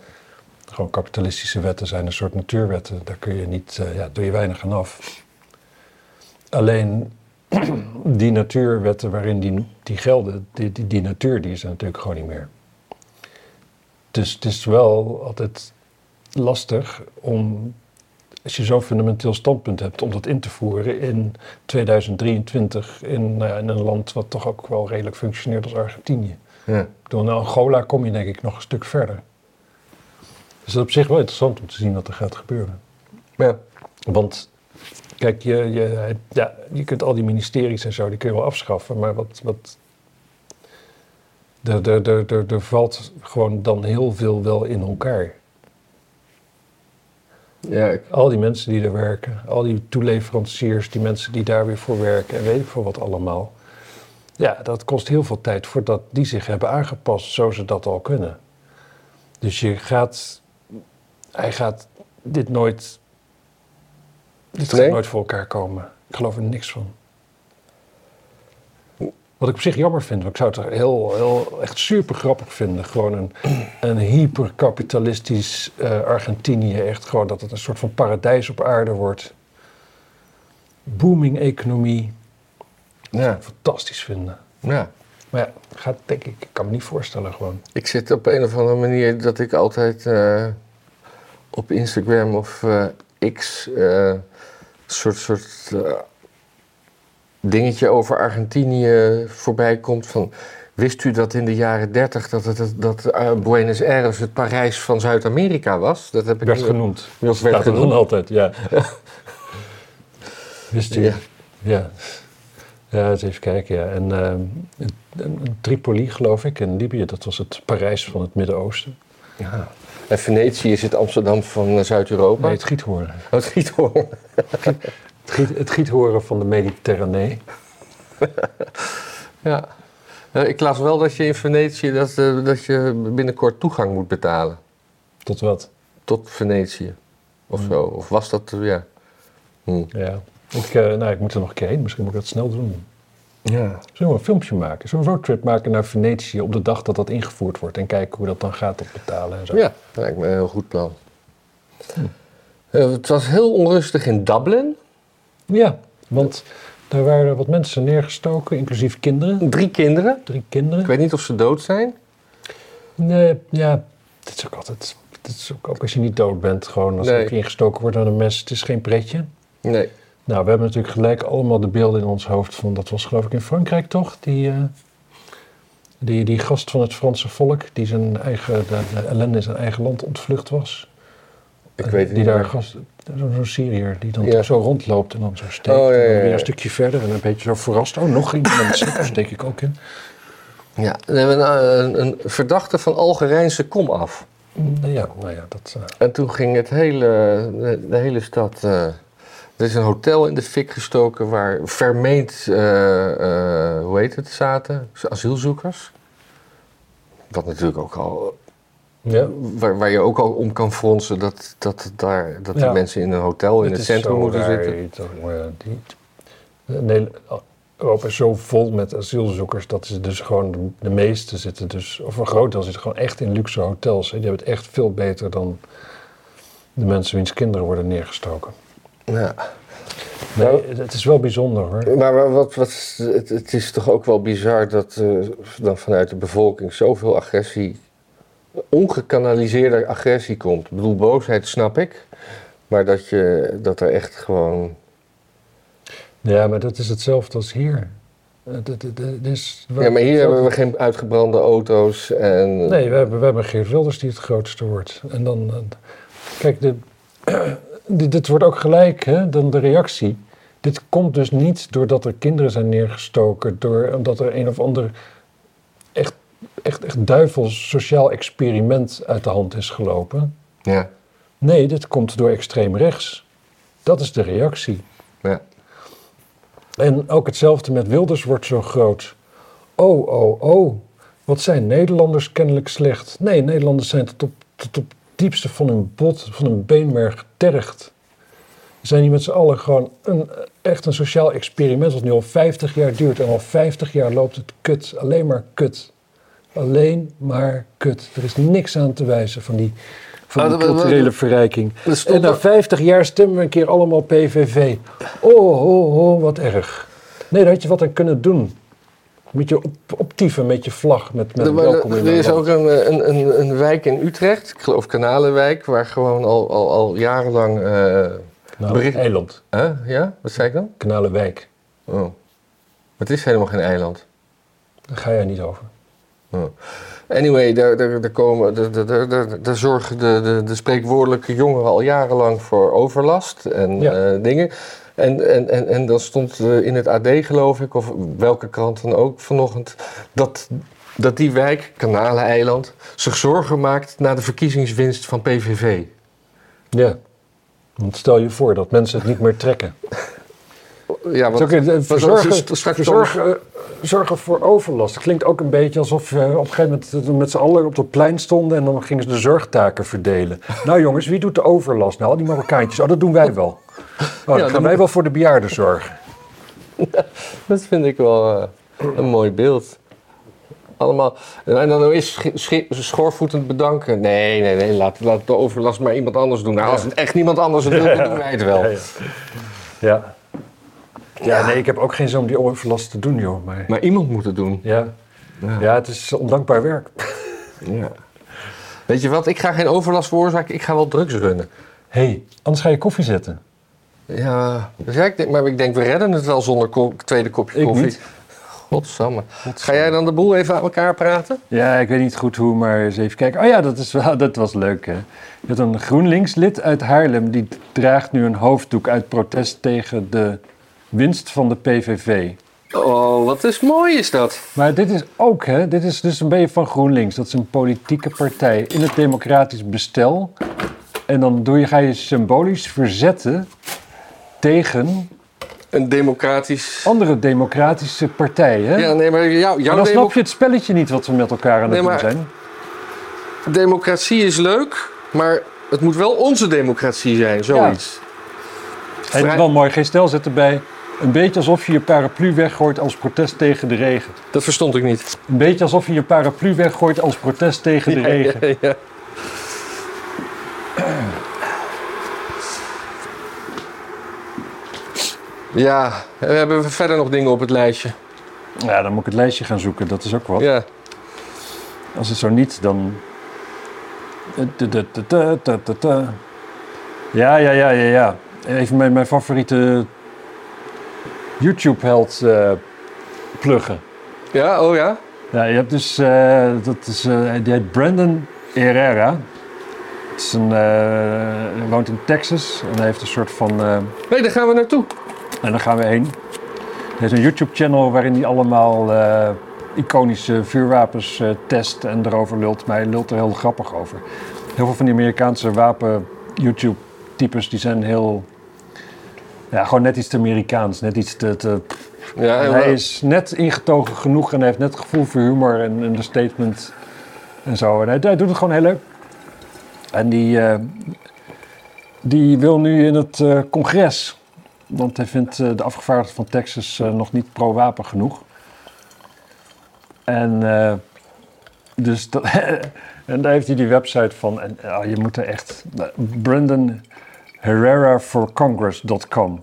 gewoon kapitalistische wetten zijn een soort natuurwetten. Daar kun je niet, eh, ja, doe je weinig aan af. Alleen *clears throat* die natuurwetten waarin die, die gelden, die, die, die natuur, die is er natuurlijk gewoon niet meer. Dus het is wel altijd lastig om, als je zo'n fundamenteel standpunt hebt, om dat in te voeren in 2023 in, nou ja, in een land wat toch ook wel redelijk functioneert als Argentinië. ja. Door naar Angola kom je denk ik nog een stuk verder. Dus dat is op zich wel interessant om te zien wat er gaat gebeuren. Ja. Want kijk, je, je, ja, je kunt al die ministeries en zo, die kun je wel afschaffen, maar wat. wat er, er, er, er, er valt gewoon dan heel veel wel in elkaar. Ja, ik- Al die mensen die er werken, al die toeleveranciers, die mensen die daar weer voor werken en weet ik veel wat allemaal. Ja, dat kost heel veel tijd voordat die zich hebben aangepast zo ze dat al kunnen. Dus je gaat, hij gaat dit nooit, dit Nee? gaat nooit voor elkaar komen. Ik geloof er niks van. Wat ik op zich jammer vind, want ik zou het heel, heel echt super grappig vinden. Gewoon een, een hyperkapitalistisch eh, Argentinië. Echt gewoon dat het een soort van paradijs op aarde wordt. Booming economie. ja, Fantastisch vinden. ja. Maar ja, gaat denk ik, ik kan me niet voorstellen gewoon. Ik zit op een of andere manier dat ik altijd eh, op Instagram of eh, X eh soort, soort eh, dingetje over Argentinië voorbij komt van. Wist u dat in de jaren 30 dat, het, dat, dat eh, Buenos Aires het Parijs van Zuid-Amerika was? Dat heb ik Werd nu- genoemd. Werd Staat er genoemd. dan altijd, ja. *laughs* Wist u? Ja. Ja. ja. eens even kijken, ja. En ehm, en Tripoli, geloof ik, in Libië, dat was het Parijs van het Midden-Oosten. Ja. En Venetië is het Amsterdam van eh, Zuid-Europa. Nee, het giethoorn. Oh, het schiet hoor. Het, giet, het giethoorn van de Mediterranee. Ja. Eh, ik las wel dat je in Venetië dat, eh, dat je binnenkort toegang moet betalen Tot wat? tot Venetië. Of zo. Of was dat, eh, ja. Hm. Ja. Ik, eh, nou, ik moet er nog een keer heen. Misschien moet ik dat snel doen. Ja. Zullen we een filmpje maken? Zullen we een roadtrip maken naar Venetië op de dag dat dat ingevoerd wordt en kijken hoe dat dan gaat op betalen en zo? Ja, dat lijkt me een heel goed plan. Eh, het was heel onrustig in Dublin. Ja, want daar waren wat mensen neergestoken, inclusief kinderen. Drie kinderen. Drie kinderen. Ik weet niet of ze dood zijn. Nee, ja, dit is ook altijd. Dit is ook, ook als je niet dood bent, gewoon als Nee. je ingestoken wordt door een mes, het is geen pretje. Nee. Nou, we hebben natuurlijk gelijk allemaal de beelden in ons hoofd van, dat was geloof ik in Frankrijk toch? Die, eh, die, die gast van het Franse volk, die zijn eigen, de, de ellende in zijn eigen land ontvlucht was. Ik weet het die niet. daar meer. gast, zo'n zo'n Syriër, die dan Ja. zo rondloopt en dan zo steekt. Oh, ja, En ja, dan weer ja. een stukje verder en een beetje zo verrast. Oh, nog iemand, daar steek ik ook in. Ja, we hebben nou, een, een, een verdachte van Algerijnse kom af. Nou ja, nou ja, dat... eh, En toen ging het hele, de, de hele stad. eh, er is een hotel in de fik gestoken waar vermeend, eh, eh, hoe heet het, zaten? Asielzoekers. Wat natuurlijk ook al. ja. Waar, waar je ook al om kan fronsen dat, dat, daar, dat die Ja. mensen in een hotel in het, is centrum zo moeten raar, zitten. iets, jongen, die- Nee, Europa is zo vol met asielzoekers dat ze dus gewoon de, de meeste zitten dus, of een groot deel zitten gewoon echt in luxe hotels. Hè. Die hebben het echt veel beter dan de mensen wiens kinderen worden neergestoken. Ja. Nee, Nou- het- het is wel bijzonder hoor. Maar wa- wat, wat, het, het is toch ook wel bizar dat eh, dan vanuit de bevolking zoveel agressie, ongekanaliseerde agressie komt. Ik bedoel, boosheid snap ik, maar dat, je, dat er echt gewoon... Ja, maar dat is hetzelfde als hier. Eh, Het, het- het- het is, Ja, maar hier hebben we geen uitgebrande auto's en... Nee, we hebben, we hebben Geert Wilders die het grootste wordt. En dan, eh, kijk, de, *clears throat* dit, dit wordt ook gelijk, hè, dan de reactie. Dit komt dus niet doordat er kinderen zijn neergestoken, door, omdat er een of ander echt, echt, echt duivels sociaal experiment uit de hand is gelopen. Ja, Nee, dit komt door extreem rechts. Dat is de reactie. ja. En ook hetzelfde met Wilders wordt zo groot. Oh, oh, oh. Wat zijn Nederlanders kennelijk slecht? Nee, Nederlanders zijn tot op, tot op het diepste van hun bot, van hun beenmerg getergd. We zijn hier met z'n allen gewoon een, echt een sociaal experiment wat nu al 50 jaar duurt. En al 50 jaar loopt het kut. Alleen maar kut. Alleen maar kut. Er is niks aan te wijzen van die, van Ah, die dat- dat- culturele verrijking. dat stond En na er- 50 jaar stemmen we een keer allemaal PVV. Oh, oh, oh, wat erg. Nee, daar had je wat aan kunnen doen. Met je op, optieven, met je vlag, met, met Er, welkom in er mijn is land. ook een, eh, een, een, een wijk in Utrecht, ik geloof Kanalenwijk, waar gewoon al, al, al jarenlang... eh, Nou, bericht- eiland, hè? Ja, wat zei ik dan? Kanalenwijk. Oh. Het is helemaal geen eiland. Daar ga jij niet over. Anyway, daar, daar, daar, komen, daar- daar, daar, daar, daar zorgen de, de, de spreekwoordelijke jongeren al jarenlang voor overlast en Ja. eh, dingen. En, en, en, en dan stond eh, in het AD, geloof ik, of welke krant dan ook vanochtend, dat, dat die wijk, Kanaleneiland, zich zorgen maakt na de verkiezingswinst van PVV. Ja. Want stel je voor dat mensen het niet meer trekken. Ja, want, Het is ook een- want een dat is verzorgen, straks verzorgen, eh, zorgen voor overlast. Het klinkt ook een beetje alsof eh, op een gegeven moment eh, met z'n allen op het plein stonden en dan gingen ze de zorgtaken verdelen. Nou jongens, wie doet de overlast? Nou, al die Marokkaantjes. Oh, dat doen wij wel. Oh, dan dan gaan moet- wij wel voor de bejaarden zorgen. Dat vind ik wel eh, een mooi beeld. Allemaal. En dan is schi- schi- schoorvoetend bedanken. Nee, nee, nee. Laat, laat de overlast maar iemand anders doen. Nou, als het echt niemand anders het wil, dan doen wij het wel. Ja. Ja. ja, nee, ik heb ook geen zin om die overlast te doen, joh. Maar Maar iemand moet het doen. ja. ja, het is ondankbaar werk. Ja. Weet je wat? Ik ga geen overlast veroorzaken. Ik ga wel drugs runnen. Hé, hey, anders ga je koffie zetten. Ja. Dus ja, ik denk, maar ik denk, we redden het wel zonder ko- tweede kopje Ik koffie. niet. Godsamme. Ga jij dan de boel even aan elkaar praten? Ja, ik weet niet goed hoe, maar eens even kijken. Oh ja, dat, is wel, *laughs* dat was leuk, hè. Je had een GroenLinks-lid uit Haarlem... die draagt nu een hoofddoek uit protest tegen de winst van de PVV. Oh, wat is mooi is dat. Maar dit is ook, hè, dit is dus een beetje van GroenLinks. Dat is een politieke partij in het democratisch bestel. En dan doe je, ga je symbolisch verzetten tegen Een democratisch... andere democratische partijen. Ja, nee, Oh, maar jou, jouw en dan democ- snap je het spelletje niet wat we met elkaar aan het Nee, doen maar- zijn. Democratie is leuk, maar het moet wel onze democratie zijn, zoiets. En Vrij- wel mooi, geen stel zet erbij. Een beetje alsof je je paraplu weggooit als protest tegen de regen. Dat verstond ik niet. Een beetje alsof je je paraplu weggooit als protest tegen de regen. Ja, *laughs* ja. Ja, en we hebben verder nog dingen op het lijstje. Ja, dan moet ik het lijstje gaan zoeken. Dat is ook wat. Ja. Als het zo niet, dan... Eh, Ta- ta- ta- ta- ta- ta- ta. Ja, ja, ja, ja, ja. Even mijn, mijn favoriete YouTube-held eh, pluggen. Ja, oh ja. Ja, je hebt dus, eh, dat is, eh, die heet Brandon Herrera. Het is een, eh, hij woont in Texas en hij heeft een soort van, eh, Nee, daar gaan we naartoe. en daar gaan we heen. Hij heeft een YouTube-channel waarin hij allemaal eh, iconische vuurwapens eh, test en erover lult. Maar hij lult er heel grappig over. Heel veel van die Amerikaanse wapen-YouTube-types die zijn heel, ja, gewoon net iets te Amerikaans, net iets te, te Ja, en en hij we- is net ingetogen genoeg en hij heeft net het gevoel voor humor en understatement en zo. En hij, hij doet het gewoon heel leuk. En die, eh, die wil nu in het eh, congres. Want hij vindt eh, de afgevaardigden van Texas eh, nog niet pro-wapen genoeg. En, eh, dus dat- *laughs* en daar heeft hij die website van. En, ah, je moet er echt... Brandon Herrera for Congress.com.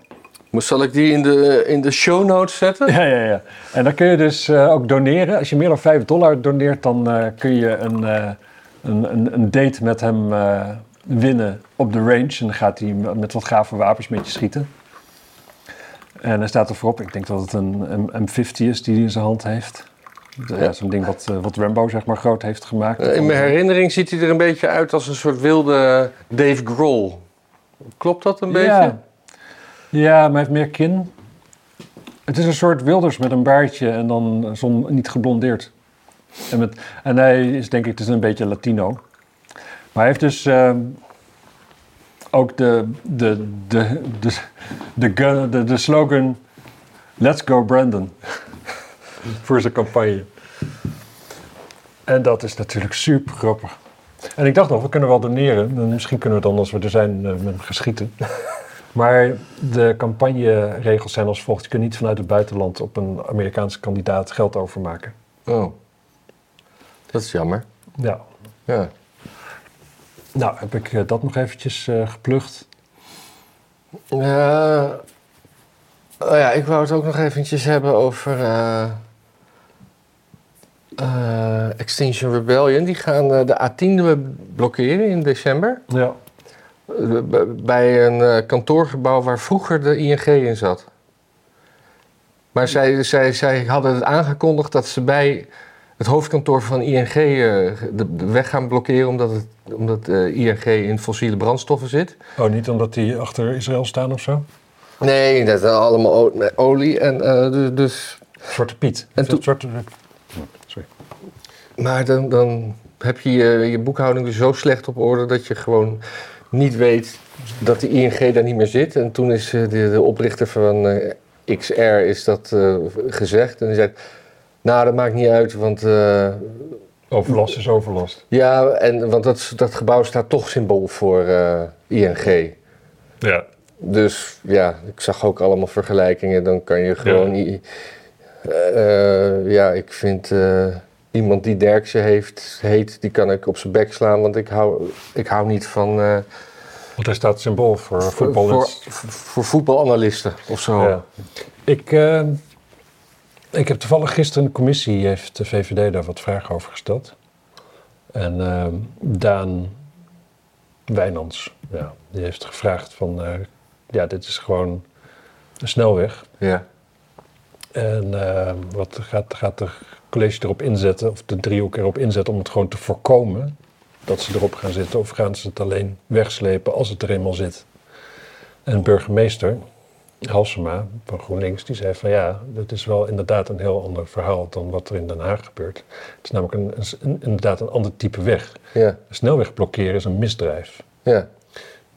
Zal ik die in de, in de show notes zetten? Ja, ja, ja. En dan kun je dus eh, ook doneren. Als je meer dan 5 dollar doneert, dan eh, kun je een, eh, een, een, een date met hem eh, winnen op de range. En dan gaat hij m- met wat gave wapens met je schieten. En hij staat er voorop. Ik denk dat het een M- M50 is die hij in zijn hand heeft. Ja, zo'n ding wat, eh, wat Rambo zeg maar groot heeft gemaakt. Eh, In mijn herinnering ziet hij er een beetje uit als een soort wilde Dave Grohl. Klopt dat een beetje? Ja. ja, maar hij heeft meer kin. Het is een soort Wilders met een baardje en dan zo'n niet geblondeerd. En, met, en hij is denk ik dus een beetje Latino. Maar hij heeft dus ehm, ook de, de, de, de, de, gun- de, de slogan Let's go Brandon *laughs* voor zijn campagne. En dat is natuurlijk super grappig. En ik dacht nog, we kunnen wel doneren. En Misschien kunnen we dan, als we er zijn, eh, met hem geschieten. Maar de campagneregels zijn als volgt. Je kunt niet vanuit het buitenland op een Amerikaanse kandidaat geld overmaken. Oh. Dat is jammer. Ja. Ja. Nou, heb ik eh, dat nog eventjes eh, geplukt. Eh, oh ja, ik wou het ook nog eventjes hebben over eh, eh, Extinction Rebellion. Die gaan eh, de A10 blokkeren in december. Ja. Eh, b- bij een eh, kantoorgebouw waar vroeger de ING in zat. Maar zij, zij, zij hadden het aangekondigd dat ze bij het hoofdkantoor van ING eh, de, de weg gaan blokkeren... omdat, het, omdat eh, ING in fossiele brandstoffen zit. Oh, niet omdat die achter Israël staan of zo? Nee, dat is allemaal o- nee, olie. En, eh, du- dus, Zwarte Piet. En toen- Zwarte... Sorry. maar dan, dan heb je je, je boekhouding weer zo slecht op orde dat je gewoon niet weet dat de ING daar niet meer zit. En toen is eh, de, de oprichter van eh, XR is dat eh, gezegd. En die zegt, nou dat maakt niet uit, want, eh, Overlast is overlast. ja, en, want dat, dat gebouw staat toch symbool voor eh, ING. Ja. Dus ja, ik zag ook allemaal vergelijkingen. Dan kan je gewoon. i- eh, ja, ik vind eh, iemand die Derksen heeft, heet, die kan ik op zijn bek slaan. Want ik hou, ik hou niet van. eh, Want hij staat symbool voor voetbal. voor, voor voetbalanalisten of zo. Ja. Ik, eh, ik heb toevallig gisteren een commissie, heeft de VVD daar wat vragen over gesteld. En eh, Daan Wijnands, ja, die heeft gevraagd van, eh, ja, dit is gewoon een snelweg. Ja. En eh, wat gaat, gaat de college erop inzetten, of de driehoek erop inzetten, om het gewoon te voorkomen dat ze erop gaan zitten? Of gaan ze het alleen wegslepen als het er eenmaal zit? En burgemeester Halsema van GroenLinks, die zei van ja, dat is wel inderdaad een heel ander verhaal dan wat er in Den Haag gebeurt. Het is namelijk een, een- inderdaad een ander type weg. Ja. Een snelweg blokkeren is een misdrijf. ja.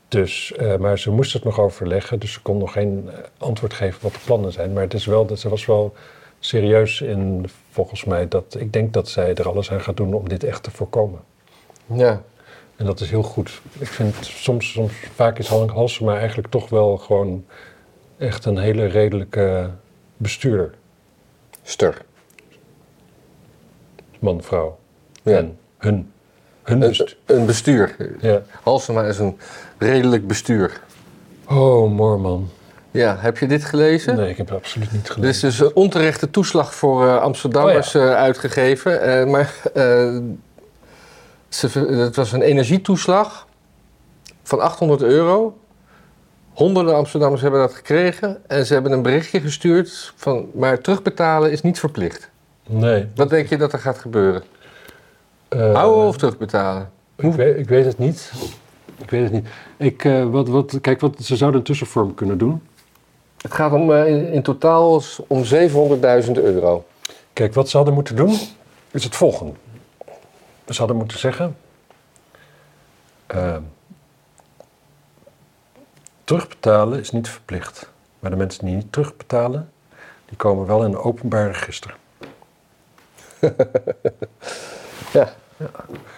Dus, eh, maar ze moest het nog overleggen, dus ze kon nog geen eh, antwoord geven wat de plannen zijn. Maar het is wel, dat ze was wel serieus in, volgens mij, dat ik denk dat zij er alles aan gaat doen om dit echt te voorkomen. ja. En dat is heel goed. Ik vind soms, soms vaak is Hank Halsema eigenlijk toch wel gewoon echt een hele redelijke bestuurder. Ster. Man, vrouw. Ja. Eh, En hun. Hun Een, bestuur. een bestuur. Ja. Halsema is een redelijk bestuur. Oh, Moorman. Ja, heb je dit gelezen? Nee, ik heb het absoluut niet Er is gelezen. dus een onterechte toeslag voor eh, Amsterdammers eh, uitgegeven. eh, maar eh, ze ver- het was een energietoeslag van 800 euro. Honderden Amsterdammers hebben dat gekregen. En ze hebben een berichtje gestuurd van... maar terugbetalen is niet verplicht. Nee. Wat denk je dat er gaat gebeuren? eh, Houden of terugbetalen? Ik weet, ik weet het niet. Ik weet het niet. Ik, eh, wat, wat, kijk, wat, ze zouden een tussenvorm kunnen doen. Het gaat om, eh, in, in totaal om 700.000 euro. Kijk, wat ze hadden moeten doen, is het volgende. Ze hadden moeten zeggen... eh, terugbetalen is niet verplicht. Maar de mensen die niet terugbetalen, die komen wel in een openbaar register. Ja.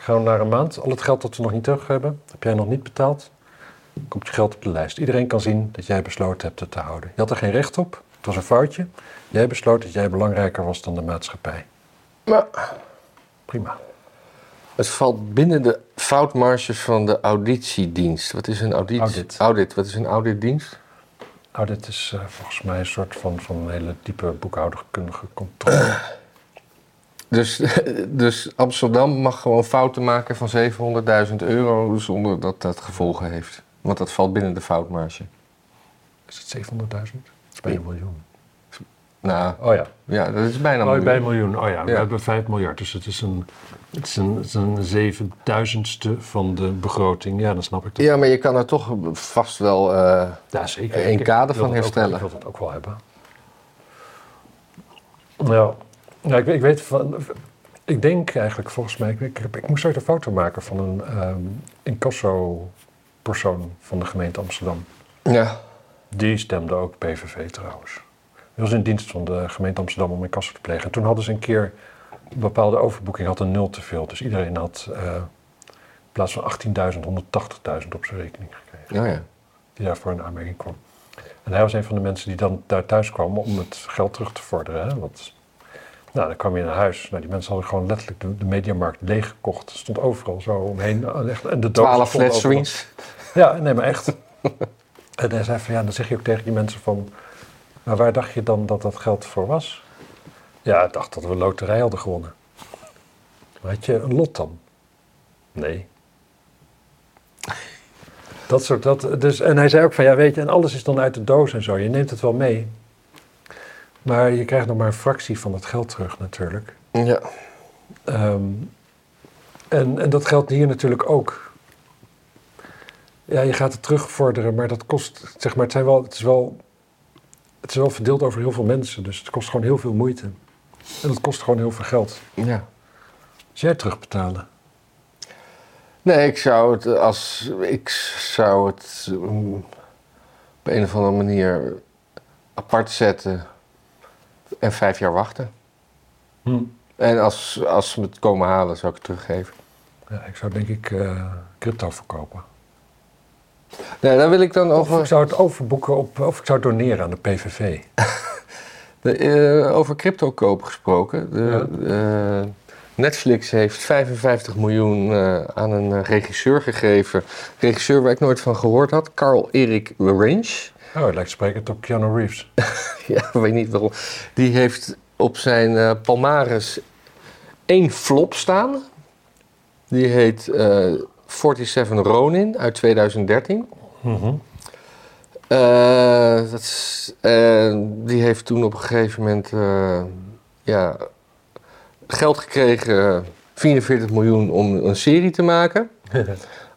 Gaan we naar een maand. Al het geld dat we nog niet terug hebben, heb jij nog niet betaald, komt je geld op de lijst. Iedereen kan zien dat jij besloten hebt het te houden. Je had er geen recht op, het was een foutje. Jij besloot dat jij belangrijker was dan de maatschappij. Maar Prima. Het valt binnen de foutmarges van de auditiedienst. Wat is een audit? Audit. Wat is een auditdienst? Nou, dit is eh, volgens mij een soort van, van een hele diepe boekhouderkundige controle. Dus, *laughs* dus Amsterdam mag gewoon fouten maken van 700.000 euro zonder dat dat gevolgen heeft. Want dat valt binnen de foutmarge. Is het 700.000? Dat is bij een miljoen. Nou, Oh ja. ja, dat is bijna Oh, miljoen. bij een miljoen. Oh ja, we Ja. hebben 5 miljard. Dus het is een, het is een, het is een zevenduizendste van de begroting. Ja, dan snap ik dat. Ja, maar je kan er toch vast wel... eh, Ja, zeker. Een Ik kader wil van dat ook- herstellen. Ik wil dat ook wel hebben. Nou, ja, ik, weet- ik weet van... Ik denk eigenlijk volgens mij... Ik, ik, heb- ik moest ooit een foto maken van een ehm incasso-persoon van de gemeente Amsterdam. ja, Die stemde ook PVV trouwens. Die was in dienst van de gemeente Amsterdam om incasso te plegen. En toen hadden ze een keer... Een bepaalde overboeking had een nul te veel. Dus iedereen had eh, in plaats van 18.000, 180.000 op zijn rekening gekregen nou ja. die daarvoor in aanmerking kwam. En hij was een van de mensen die dan daar thuis kwam om het geld terug te vorderen. Hè? Want, nou, dan kwam je naar huis. Nou, die mensen hadden gewoon letterlijk de, de mediamarkt leeggekocht. Er stond overal zo omheen. En echt- En de dozen 12 stonden flat overal. screens. *laughs* Ja, nee, maar echt. en hij zei van, ja, dan zeg je ook tegen die mensen van... Maar waar dacht je dan dat dat geld voor was? Ja, ik dacht dat we loterij hadden gewonnen. Maar had je een lot dan? Nee. *laughs* Dat soort, dat, dus, en hij zei ook van, ja, weet je, en alles is dan uit de doos en zo. Je neemt het wel mee. Maar je krijgt nog maar een fractie van het geld terug natuurlijk. Ja. Ehm, en, en dat geldt hier natuurlijk ook. Ja, je gaat het terugvorderen, maar dat kost, zeg maar, het, zijn wel, het, is wel, het is wel verdeeld over heel veel mensen. Dus het kost gewoon heel veel moeite. En het kost gewoon heel veel geld. ja. Dus jij terugbetalen. Nee, ik zou het als. Ik zou het mm, op een of andere manier apart zetten en vijf jaar wachten. En als, als ze me het komen halen, zou ik het teruggeven. Ja, ik zou denk ik eh, crypto verkopen. Nee, daar wil ik Nou, dan Of ik over, zou het overboeken op, of ik zou doneren aan de PVV. de, eh, over crypto kopen gesproken. De, eh, Netflix heeft 55 miljoen eh, aan een eh, regisseur gegeven. Regisseur waar ik nooit van gehoord had, Carl Erik Range. Oh, het lijkt sprekend op Keanu Reeves. *laughs* Ja, ik weet niet waarom. Die heeft op zijn eh, palmares één flop staan. Die heet eh 47 Ronin uit 2013. *laughs* Eh, dat is, eh, die heeft toen op een gegeven moment eh, ja, geld gekregen, 44 miljoen, om een serie te maken.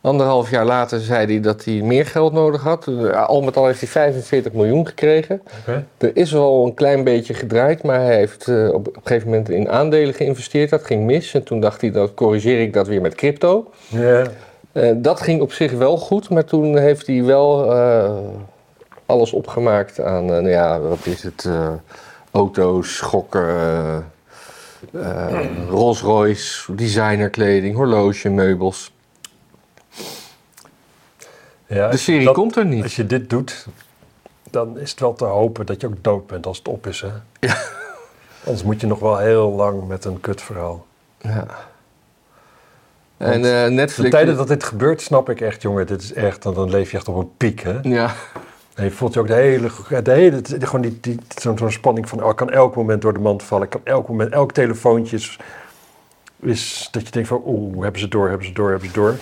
Anderhalf jaar later zei hij dat hij meer geld nodig had. Eh, Al met al heeft hij 45 miljoen gekregen. Oké. Er is al een klein beetje gedraaid, maar hij heeft eh, op een gegeven moment in aandelen geïnvesteerd. Dat ging mis en toen dacht hij, dan corrigeer ik dat weer met crypto. Ja. Eh, dat ging op zich wel goed, maar toen heeft hij wel eh, alles opgemaakt aan, eh, nou ja, wat is het, eh, auto's, schokken, eh, eh, *clears throat* Rolls Royce, designerkleding, horloge, meubels. Ja, De serie dat- komt er niet. Als je dit doet, dan is het wel te hopen dat je ook dood bent als het op is. Hè? Anders moet je nog wel heel lang met een kutverhaal. Ja. En eh, De Netflix. tijden dat dit gebeurt, snap ik echt, jongen. Dit is echt, want dan leef je echt op een piek, hè? Ja, En je voelt je ook de hele, de hele gewoon die, die, zo'n, zo'n spanning van, oh, ik kan elk moment door de mand vallen. Ik kan elk moment, elk telefoontje is, is dat je denkt van, oeh, hebben ze door, hebben ze door, hebben ze door.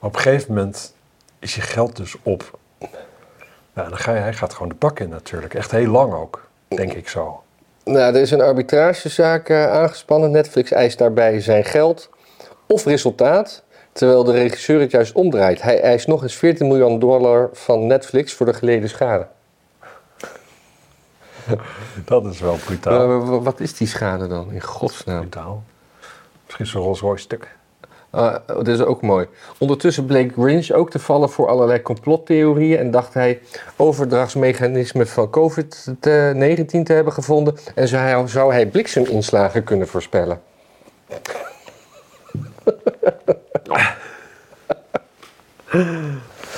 Maar op een gegeven moment is je geld dus op. Nou, dan ga je, hij gaat gewoon de bak in natuurlijk. Echt heel lang ook, denk ik zo. nou, er is een arbitragezaak eh, aangespannen. Netflix eist daarbij zijn geld of resultaat. Terwijl de regisseur het juist omdraait. Hij eist nog eens 14 miljoen dollar van Netflix voor de geleden schade. Dat is wel brutaal. Maar wa- wat is die schade dan, in godsnaam? brutaal. Misschien zo'n Rolls Royce stuk. Eh, dat is ook mooi. Ondertussen bleek Grinch ook te vallen voor allerlei complottheorieën en dacht hij overdrachtsmechanismen van COVID-19 te hebben gevonden en zou hij, zou hij blikseminslagen kunnen voorspellen.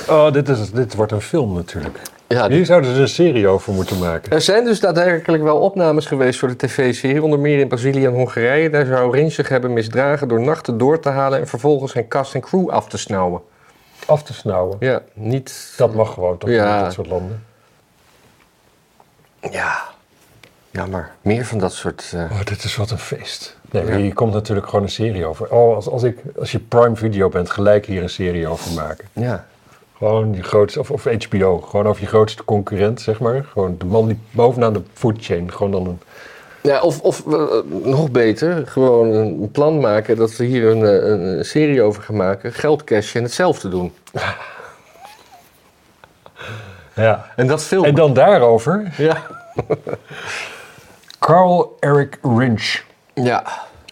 Oh, dit, is, dit wordt een film natuurlijk. Ja, Hier zouden ze een serie over moeten maken. er zijn dus daadwerkelijk wel opnames geweest voor de tv-serie, onder meer in Brazilië en Hongarije. Daar zou Grinch zich hebben misdragen door nachten door te halen en vervolgens zijn cast en crew af te snauwen. Af te snauwen. Ja, niet... Dat mag gewoon toch Ja. in dit soort landen. Ja, jammer. Meer van dat soort... eh, Oh, dit is wat een feest. Nee, maar hier komt natuurlijk gewoon een serie over. Oh, als, als, ik, als je Prime Video bent, gelijk hier een serie over maken. ja. Gewoon je grootste, of, of HBO, gewoon over je grootste concurrent, zeg maar. Gewoon de man die bovenaan de food chain, gewoon dan een... Ja, of, of eh, nog beter, gewoon een plan maken dat we hier een, eh, een, een serie over gaan maken. Geld cashen en hetzelfde doen. Ja. En dat filmen. En dan daarover, Ja. Carl Eric Rinch. Ja.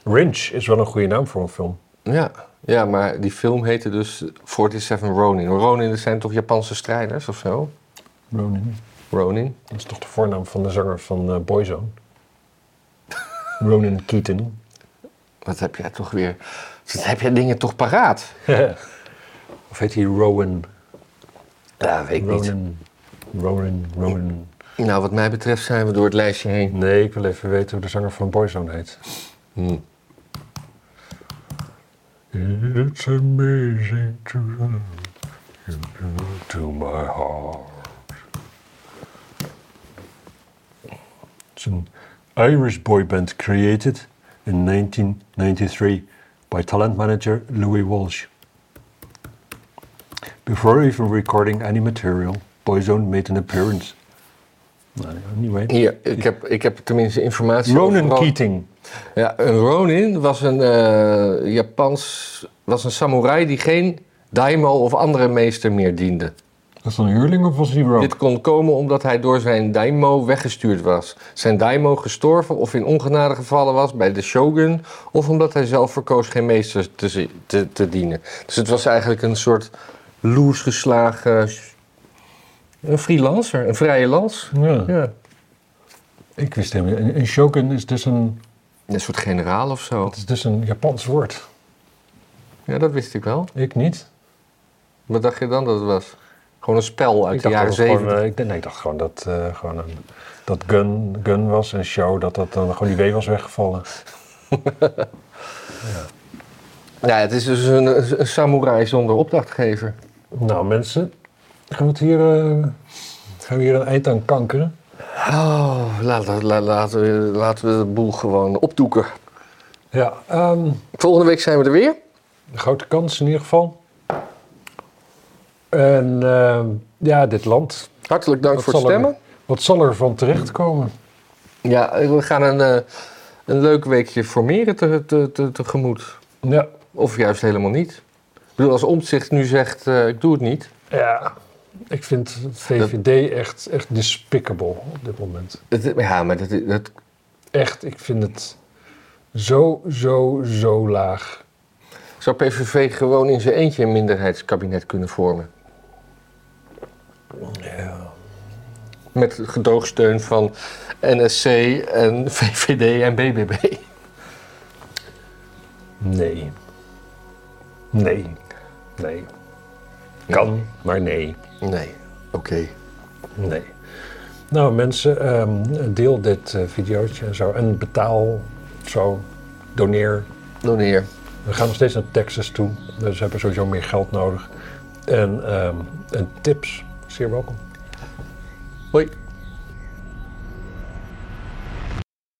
Rinch is wel een goede naam voor een film. ja. Ja, maar die film heette dus 47 Ronin. Ronin, dat zijn toch Japanse strijders of zo? Ronin. Ronin. Dat is toch de voornaam van de zanger van eh, Boyzone? *laughs* Ronan *laughs* Keaton. Wat heb jij toch weer... Wat heb jij dingen toch paraat? Of heet hij Rowan? Ja, weet ik niet. Ronan. Ronan, Ronan. Nou, wat mij betreft zijn we door het lijstje heen. Nee, ik wil even weten hoe de zanger van Boyzone heet. Hmm. It's amazing to, to my heart. It's an Irish boy band created in 1993 by talent manager Louis Walsh. Before even recording any material, Boyzone made an appearance. Nou, Anyway. Hier, ik heb, ik heb tenminste informatie Ronan over Ro- Keating. Ja, een Ronin was een eh, Japans, was een samurai die geen daimo of andere meester meer diende. Was dat een huurling of was hij Dit kon komen omdat hij door zijn daimo weggestuurd was. Zijn daimo gestorven of in ongenade gevallen was bij de shogun, of omdat hij zelf verkoos geen meester te, zi- te, te dienen. Dus het was eigenlijk een soort loers geslagen, een freelancer, een vrije lans. Ja. Ja. Ik wist helemaal niet. Een, een shogun is dus een, Een soort generaal of zo. dat is dus een Japans woord. Ja, dat wist ik wel. Ik niet. Wat dacht je dan dat het was? Gewoon een spel uit ik de dacht jaren dat het gewoon, zeventig. eh, ik, dacht- nee, ik dacht gewoon dat, eh, gewoon een, dat gun, gun was en show, dat, dat dan gewoon die W was weggevallen. Ja, het is dus een, een samurai zonder opdrachtgever. Nou mensen, gaan we, het hier, eh, gaan we hier een eind aan kankeren? Oh, laten, la- laten, we- laten we de boel gewoon opdoeken. Ja, ehm, Volgende week zijn we er weer. Een grote kans in ieder geval. En eh, ja, dit land. Hartelijk dank Wat voor het zal er- stemmen. Wat zal er van terechtkomen? Ja, we gaan een, eh, een leuk weekje formeren te, te, te, tegemoet. Ja, Of juist helemaal niet. Ik bedoel, als Omtzigt nu zegt, eh, ik doe het niet. ja. ik vind het VVD echt, echt despicable op dit moment. Het- ja, maar dat, dat, Echt, ik vind het zo, zo, zo laag. zou PVV gewoon in zijn eentje een minderheidskabinet kunnen vormen. Ja. Met gedoogsteun van NSC en *laughs* VVD en BBB. Nee. Nee. Nee. Kan, maar nee. Nee, oké. Nee. Nou mensen, ehm, deel dit eh, videootje en zo. En betaal, zo, doneer. Doneer. We gaan nog steeds naar Texas toe. Dus we hebben sowieso meer geld nodig. En, ehm, en tips, zeer welkom. Hoi.